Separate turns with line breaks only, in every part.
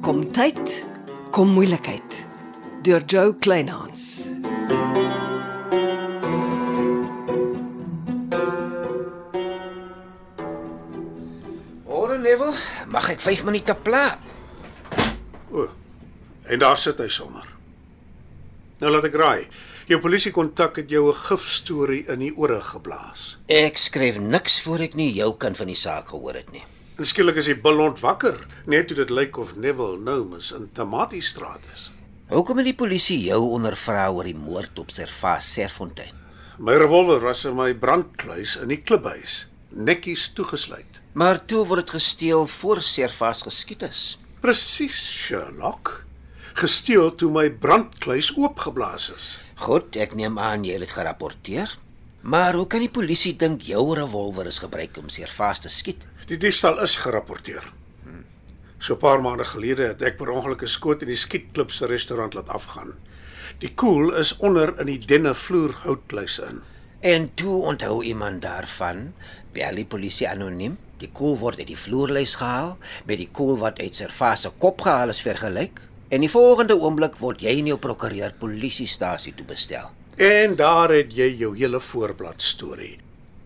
Gesondheid kom moeilikheid deur Joe Kleinhans.
Ore Neville, mag ek 5 minute pla?
O. En daar sit hy sommer. Nou laat ek raai. Jou polisie kontak het jou 'n gifstorie in die ore geblaas.
Ek skryf niks voor ek nie jou kan van die saak gehoor het nie.
En skielik is die bil ontwakker, net toe dit lyk of Neville Nomus in Tamatiestraat is.
Hoekom het die polisie jou ondervra oor die moord op Servas Serfontein?
My revolver was in my brandkluis in die kliphuis, netjies toegesluit.
Maar toe word dit gesteel voor Servas geskiet is.
Presies, Sherlock. Gesteel toe my brandkluis oopgeblaas is.
Goed, ek neem aan jy het dit gerapporteer. Maar hoe kan die polisie dink jou revolver is gebruik om Servas te skiet?
Die diefstal is gerapporteer. Hm. So 'n paar maande gelede het ek per ongeluk 'n skoot in die skietklub se restaurant laat afgaan. Die koel is onder in die denne vloer houtkluis in.
En toe onthou iemand daarvan, bel die polisie anoniem. Die koel word uit die vloerlys gehaal met die koel wat uit Servas se kop gehaal is vergelyk. En die volgende oomblik word jy in jou prokureur polisiestasie toe bestel.
En daar het jy jou hele voorblad storie.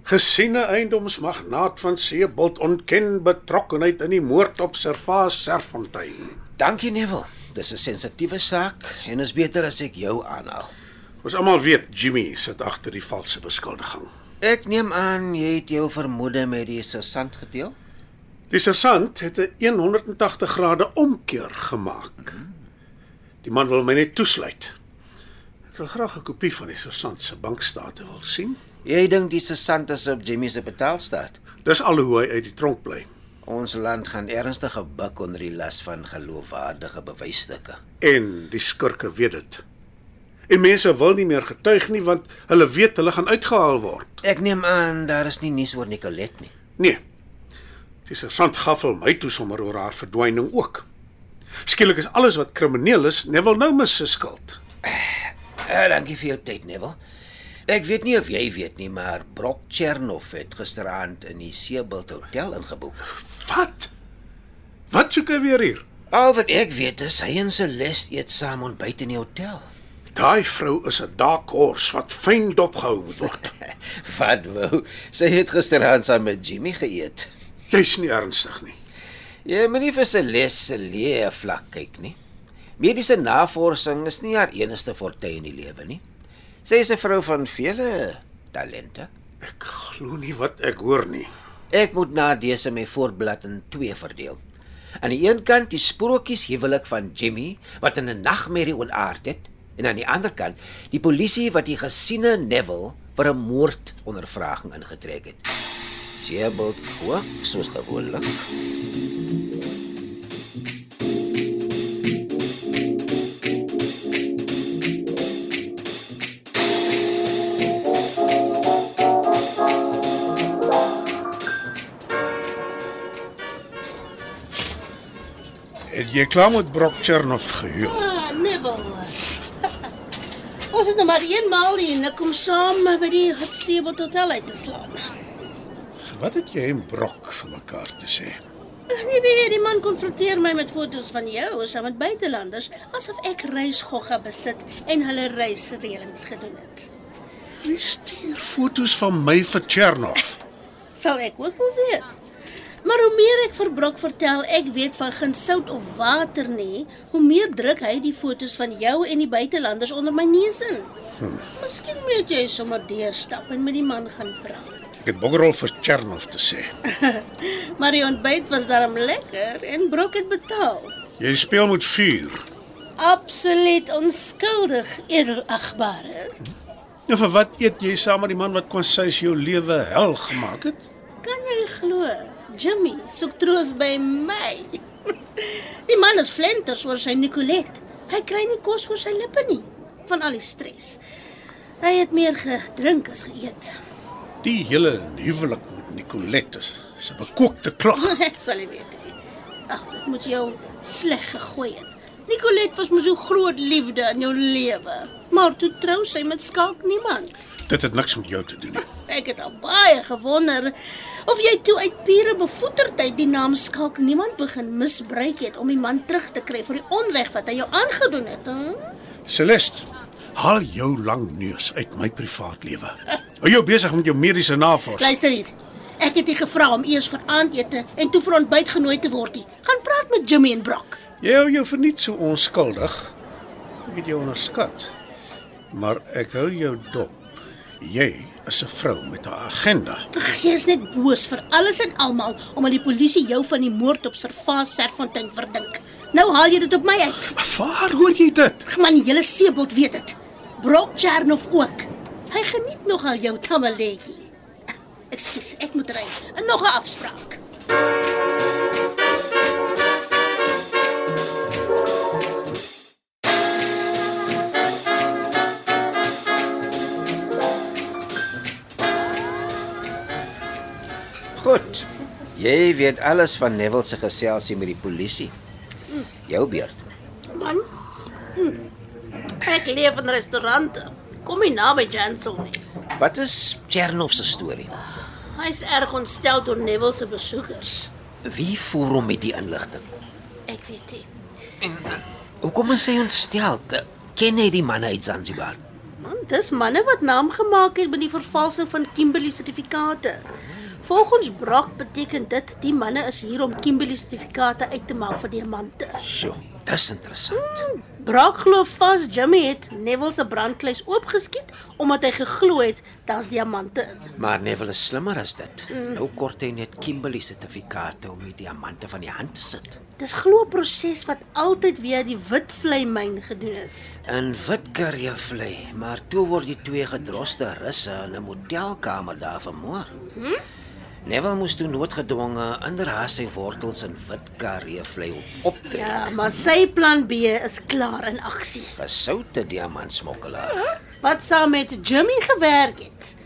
Gesiene eiendomsmagnaat van Seebult ontken betrokkeheid in die moord op Servaas Serfontein.
Dankie Neville. Dis 'n sensitiewe saak en is beter as ek jou aanhaal.
Ons almal weet Jimmy sit agter die valse beskuldiging.
Ek neem aan jy het jou vermoede met die sergeant gedeel.
Die sergeant het 'n 180 grade omkeer gemaak. Die man wil my net toesluit. Ek wil graag 'n kopie van die sergeant se bankstate wil sien.
Jy dink die sergeant is op Jimmy se betaalstaat.
Dis al hoe hy uit die tronk bly
Ons land gaan ernstig gebuk onder die las van geloofwaardige bewysstukke.
en die skurke weet dit. En mense wil nie meer getuig nie want hulle weet hulle gaan uitgehaal word.
Ek neem aan daar is nie nuus oor Nicolet nie.
Nee. Die sergeant gaf hom my toe sommer oor haar verdwyning ook. Skielik is alles wat krimineel is, Neville Nomus se skuld.
Uh, dankie vir jou tyd, Neville. Ek weet nie of jy weet nie, maar Brock Chernov het gisteraand in die Seebult Hotel ingeboek.
Wat? Wat soek hy weer hier?
Al wat ek weet is hy en Celeste eet saam ontbyt in die hotel.
Daai vrou is 'n dakhors wat fyn dopgehou moet word.
Wat wou? Sy het gisteraand saam met Jimmy geëet.
Jy's nie ernstig nie.
Jy moenie vir Celeste se leë vlak kyk nie. Mediese navorsing is nie haar enigste forte in die lewe nie. Sy is 'n vrou van vele talente.
Ek glo nie wat ek hoor nie.
Ek moet na dese my voorblad in twee verdeel. Aan die een kant die sprokies huwelik van Jimmy wat in 'n nagmerrie ontaard het en aan die ander kant die polisie wat die gesiene Neville vir 'n moordondervraging ingetrek het. Sebald ook soos gewoonlik.
Het jy klaar met Brock Chernov gehuil?
Ah, Neville. Ons het nou maar eenmaal die nik om saam by die Hutseebot Hotel uit te slaan.
Wat het jy en Brock vir mekaar te sê?
Ag nee, weet jy, die man konfronteer my met foto's van jou saam met buitelanders asof ek reisgogga besit en hulle reisreëlings gedoen het.
Wie stuur foto's van my vir Chernov?
Sal ek ook wil weet. Maar hoe meer ek vir Brok vertel, ek weet van geen sout of water nie, hoe meer druk hy die foto's van jou en die buitelanders onder my neus in. Hm. Miskien moet jy sommer deurstap en met die man gaan praat.
Ek het bokkerol vir Chernov te sê.
Maar die ontbyt was darm lekker en Brok het betaal.
Jy speel met vuur.
Absoluut onskuldig, edelagbare.
Nou vir wat eet jy saam met die man wat kon sê jou lewe hel gemaak het?
Kan jy glo? Jimmy soek troos by my. Die man is flenters oor sy Nicolet. Hy kry nie kos oor sy lippe nie van al die stres. Hy het meer gedrink as geëet.
Die hele huwelik met Nicolette is is 'n bekookte klag.
Ek sal nie weet nie. Ag, dit moet jou sleg gegooi het. Nicolet was mos so groot liefde in jou lewe, maar toe trou sy met skalk niemand.
Dit het niks met jou te doen nie.
Ek het al baie gewonder of jy toe uit pure bevoeterdheid die naam skalk niemand begin misbruik het om die man terug te kry vir die onreg wat hy jou aangedoen het. Hm?
Celeste, haal jou lang neus uit my privaat lewe. Hou jou besig met jou mediese navorsing.
Luister hier. Ek het nie gevra om eers vir aandete en toe vir ontbyt genooi te word nie. Gaan praat met Jimmy en Brock.
Jy hou jou verniet so onskuldig. Ek het jou onderskat. Maar ek hou jou dop. Jy is 'n vrou met 'n agenda.
Ag, jy is net boos vir alles en almal omdat die polisie jou van die moord op Servaas Sterfontein verdink. Nou haal jy dit op my uit.
Waar hoor jy dit?
Ag man, die hele seebot weet dit. Brock Chernoff ook. Hy geniet nogal jou tamaletjie. Ekskuus, ek moet ry. En nog 'n afspraak.
Goed. Jy weet alles van Neville se geselsie met die polisie. Jou beurt.
Man. hm, Ek leef in restaurante. Kom nie naby Janson nie.
Wat is Chernoff se storie?
Hy's erg ontstel deur Neville se besoekers.
Wie voer hom met die inligting?
Ek weet nie.
Hoekom is hy ontstel? Ken hy die man uit Zanzibar?
Want Dis manne wat naam gemaak het met die vervalsing van Kimberley sertifikate. Volgens Brock beteken dit die manne is hier om Kimberley sertifikate uit te maak vir diamante.
Sjoe, Mm. dis interessant.
Brock glo vas Jimmy het Neville se brandkluis oopgeskiet omdat hy geglo het daar's diamante in.
Maar Neville is slimmer as dit. Nou kort hy net Kimberley sertifikate om die diamante van die hand te sit.
Dis glo 'n proses wat altyd weer die wit vlei myn gedoen is.
In Witker jy vlei, maar toe word die twee gedroste russe in 'n motelkamer daar vermoor. Hm? Neville moes toe noodgedwonge inderhaas sy wortels in Witker jy vlei optrek. Ja.
Ja, maar sy plan B is klaar in aksie.
Gesoute diamantsmokkelaar.
Wat saam met Jimmy gewerk het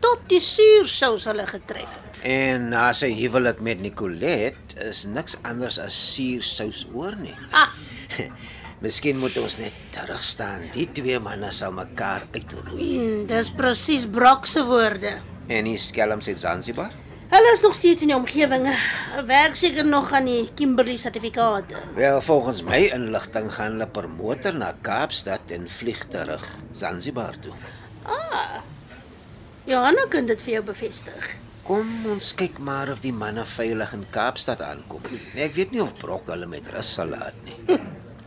tot die suursous hulle getref het.
En na sy huwelik met Nicolette is niks anders as suursous oor nie.
Ah.
Miskien moet ons net terug staan. Die twee manne sal mekaar uitroei.
Mm, dis presies Brock se woorde.
En die skelms uit Zanzibar?
Hulle is nog steeds in die omgewing. Werk seker nog aan die Kimberley sertifikate.
Wel, volgens my inligting gaan hulle per motor na Kaapstad en vlieg terug Zanzibar toe.
Johanna kan dit vir jou bevestig.
Kom ons kyk maar of die manne veilig in Kaapstad aankom. Nee, ek weet nie of Brok hulle met rus sal laat nie.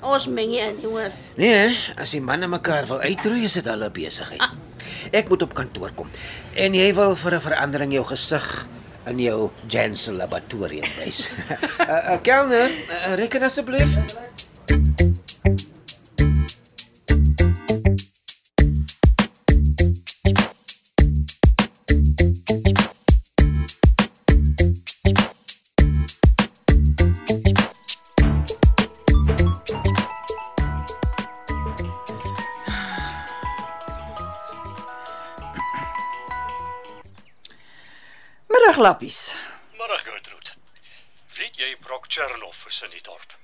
Ons meng nie in nie, hoor.
Nee, as die manne mekaar wil uitroei, is dit hulle besigheid. Ek moet op kantoor kom. En jy wil vir 'n verandering jou gesig in jou Jansen laboratorium wys. 'n uh, uh, Kelner, uh, reken asseblief.
Middag lappies.
Middag Gertrude. Weet jy Brock Chernoff is in die dorp?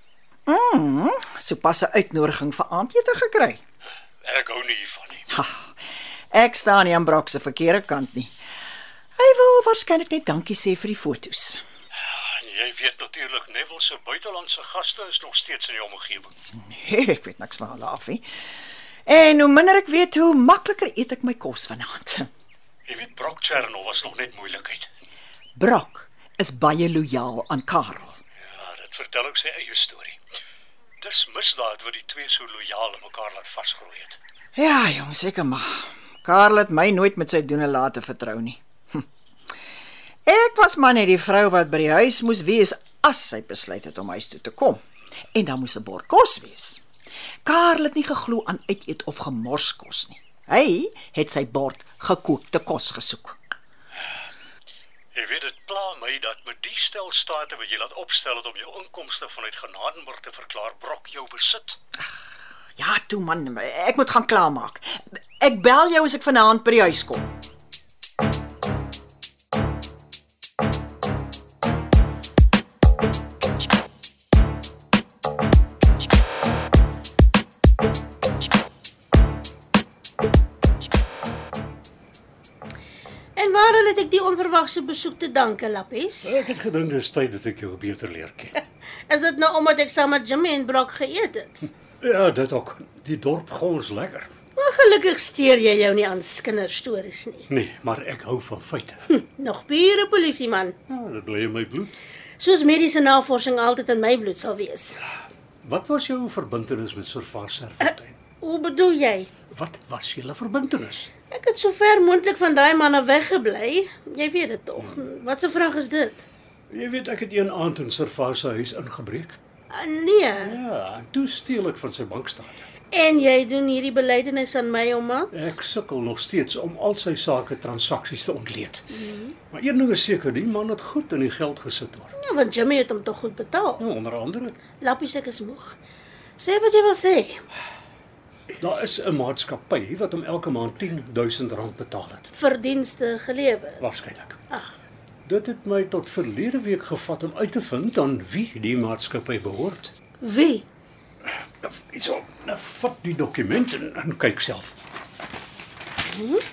Mm, sopas 'n uitnodiging vir aandete gekry.
Ek hou nie hiervan nie.
Ha. Ek staan nie aan Brok se verkeerde kant nie. Hy wil waarskynlik net dankie sê vir die fotos.
Ah, En jy weet natuurlik Neville se buitelandse gaste is nog steeds in die omgewing.
Nee, ek weet niks van hulle af nie. En hoe minder ek weet, hoe makliker eet ek my kos vanaand.
Jy weet Brock Chernoff was nog net moeilikheid.
Brok is baie lojaal aan Karel.
Ja, dit vertel ook sy eie storie. Dis misdaad wat die twee so lojaal aan mekaar laat vasgroei het.
Ja, jong, seker maar. Karl het my nooit met sy doene laat vertrou nie. Hm. Ek was maar net die vrou wat by die huis moes wees as sy besluit het om huis toe te kom. En dan moes 'n bord kos wees. Karl het nie geglo aan uiteet of gemors kos nie. Hy het sy bord gekookte kos gesoek.
Jy weet dit pla my dat met die stel state wat jy laat opstel het om jou inkomste vanuit Genadenburg te verklaar, Brock jou besit.
Ja, toe man, ek moet gaan klaarmaak. Ek bel jou as ek vanaand by die huis kom.
En waar Hoeveel het ek die onverwagse besoek te danke, Lappies?
Ek het gedink dis tyd dat ek jou beter leer ken.
Is dit nou omdat ek saam met Jimmy en Brock geëet het?
Ja, dit ook. Die dorp gons lekker.
Maar gelukkig steur jy jou nie aan kinderstories nie.
Nee, maar ek hou van feite.
Nog pure polisieman.
Ja, dit bly in my bloed.
Soos mediese navorsing altyd in my bloed sal wees.
Wat was jou verbintenis met Sir Vars Serfontein?
Hoe bedoel jy?
Wat was julle verbintenis?
Ek het so ver moontlik van daai manne weggebly. Jy weet dit tog. Wat 'n vraag is dit?
Jy weet ek het een aand in Sir Vars se huis ingebreek.
Uh, nee.
Ja, en toe steel ek van sy bankstate.
En jy doen hierdie belydenis aan my om aan?
Ek sukkel nog steeds om al sy sake transaksies te ontleed. Maar een ding is seker, die man het goed in die geld gesit hoor.
Ja, want Jimmy het hom tog goed betaal.
Ja, onder andere,
Lappies ek is moeg. Sê wat jy wil sê.
daar is 'n maatskappy wat hom elke maand 10000 rand betaal het,
Verdienste gelewer.
waarskynlik.
Ah.
Dit het my tot verlede week gevat om uit te vind aan wie die maatskappy behoort.
Wie?
Hyso, nou vat die dokument en, en kyk self.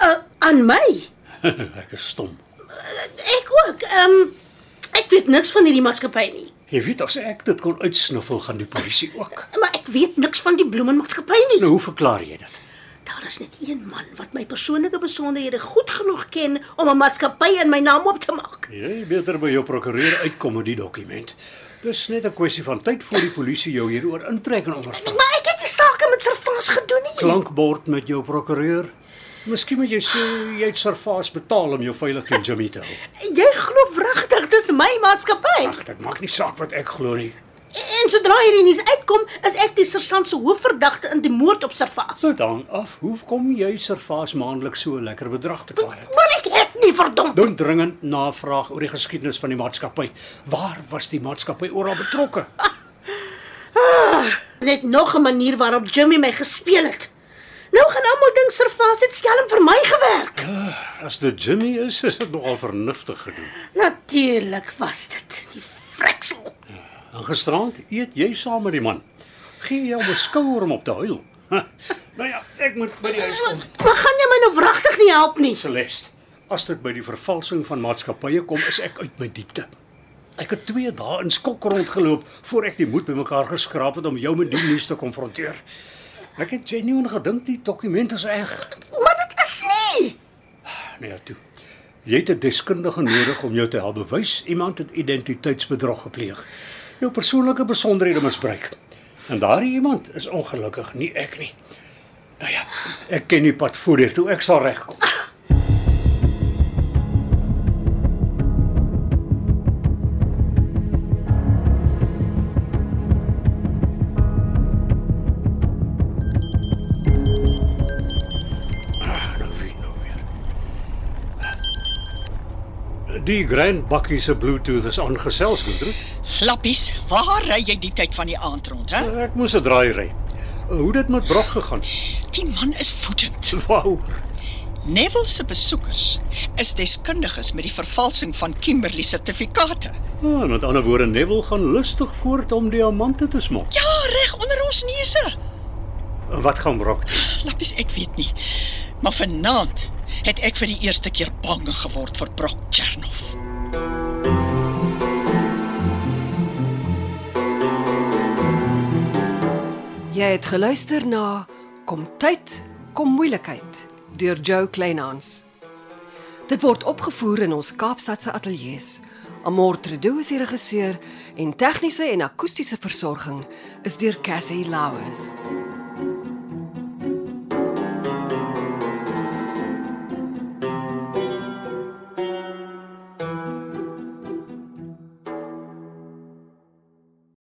Uh, aan my.
ek is stom.
Ek ook. Ehm um, ek weet niks van hierdie maatskappy nie.
Jy weet as ek dit kon uitsniffel gaan die polisie ook.
Maar ek weet niks van die bloemenmaatskappy nie.
Nou hoe verklaar jy dit?
Daar is net een man wat my persoonlike besonderhede goed genoeg ken om 'n maatskappy in my naam op te maak.
Jy beter by jou prokureur uitkom met die dokument. Dis net 'n kwessie van tyd voor die polisie jou hieroor intrek en ondervraag.
Maar ek het die sake met Servaas gedoen nie.
Klankbord met jou prokureur. Miskien moet jy sê jy het servaas betaal om jou veilig teen Jimmy te hou.
Jy glo wragtig dis my maatskappy.
Ag, dit maak nie saak wat ek glo nie.
En sodra hierdie nuus uitkom, is ek die sergeant se hoofverdagte in die moord op Servaas.
Sit dan af. Hoe kom jy servaas maandeliks so 'n lekker bedrag te klaar het?
Maar ek het nie verdomd.
Doen dringend navraag oor die geskiedenis van die maatskappy. Waar was die maatskappy oral betrokke?
Net nog 'n manier waarop Jimmy my gespeel het. Nou gaan almal dink Servaas het skelm vir my gewerk.
As dit Jimmy is, is dit nogal vernuftig gedoen.
Natuurlik was dit die freksel.
En gisterand eet jy saam met die man. Gee jou 'n skouer om op te huil. nou ja, ek moet by die huis kom.
Maar gaan jy my nou wragtig nie help nie?
Celeste, as dit by die vervalsing van maatskappye kom, is ek uit my diepte. Ek het 2 dae in skok rondgeloop voor ek die moed bymekaar geskraap het om jou met die nuus te konfronteer. Ek het genuine gedink die dokument is reg.
Maar dit is nie.
Nee, ja, toe. Jy het 'n deskundige nodig om jou te help bewys iemand het identiteitsbedrog gepleeg. Jou persoonlike besonderhede misbruik. En daardie iemand is ongelukkig nie ek nie. Nou ja, ek ken die pad voordeur toe ek sal regkom. Ah, nou wie nou weer. Die Grand Bakkie se Bluetooth is aangesels, Goedre.
Lappies, waar ry jy die tyd van die aand rond, hè?
Ek moes 'n draai ry. Hoe dit met Brok gegaan?
Die man is woedend.
Wou.
Neville se besoekers is deskundiges met die vervalsing van Kimberley se sertifikate.
Ah, met ander woorde, Neville gaan lustig voort om diamante te smok.
Ja, reg onder ons neuse.
En Wat gaan Brok doen?
Lappies, ek weet nie. Maar vanaand het ek vir die eerste keer bang geword vir Brock Chernoff.
Jy het geluister na Kom tyd, kom moeilikheid deur Jo Kleinhans. Dit word opgevoer in ons Kaapstadse ateljee se. Amor Tredo is die regisseur en tegniese en akoestiese versorging is deur Cassie Lauers.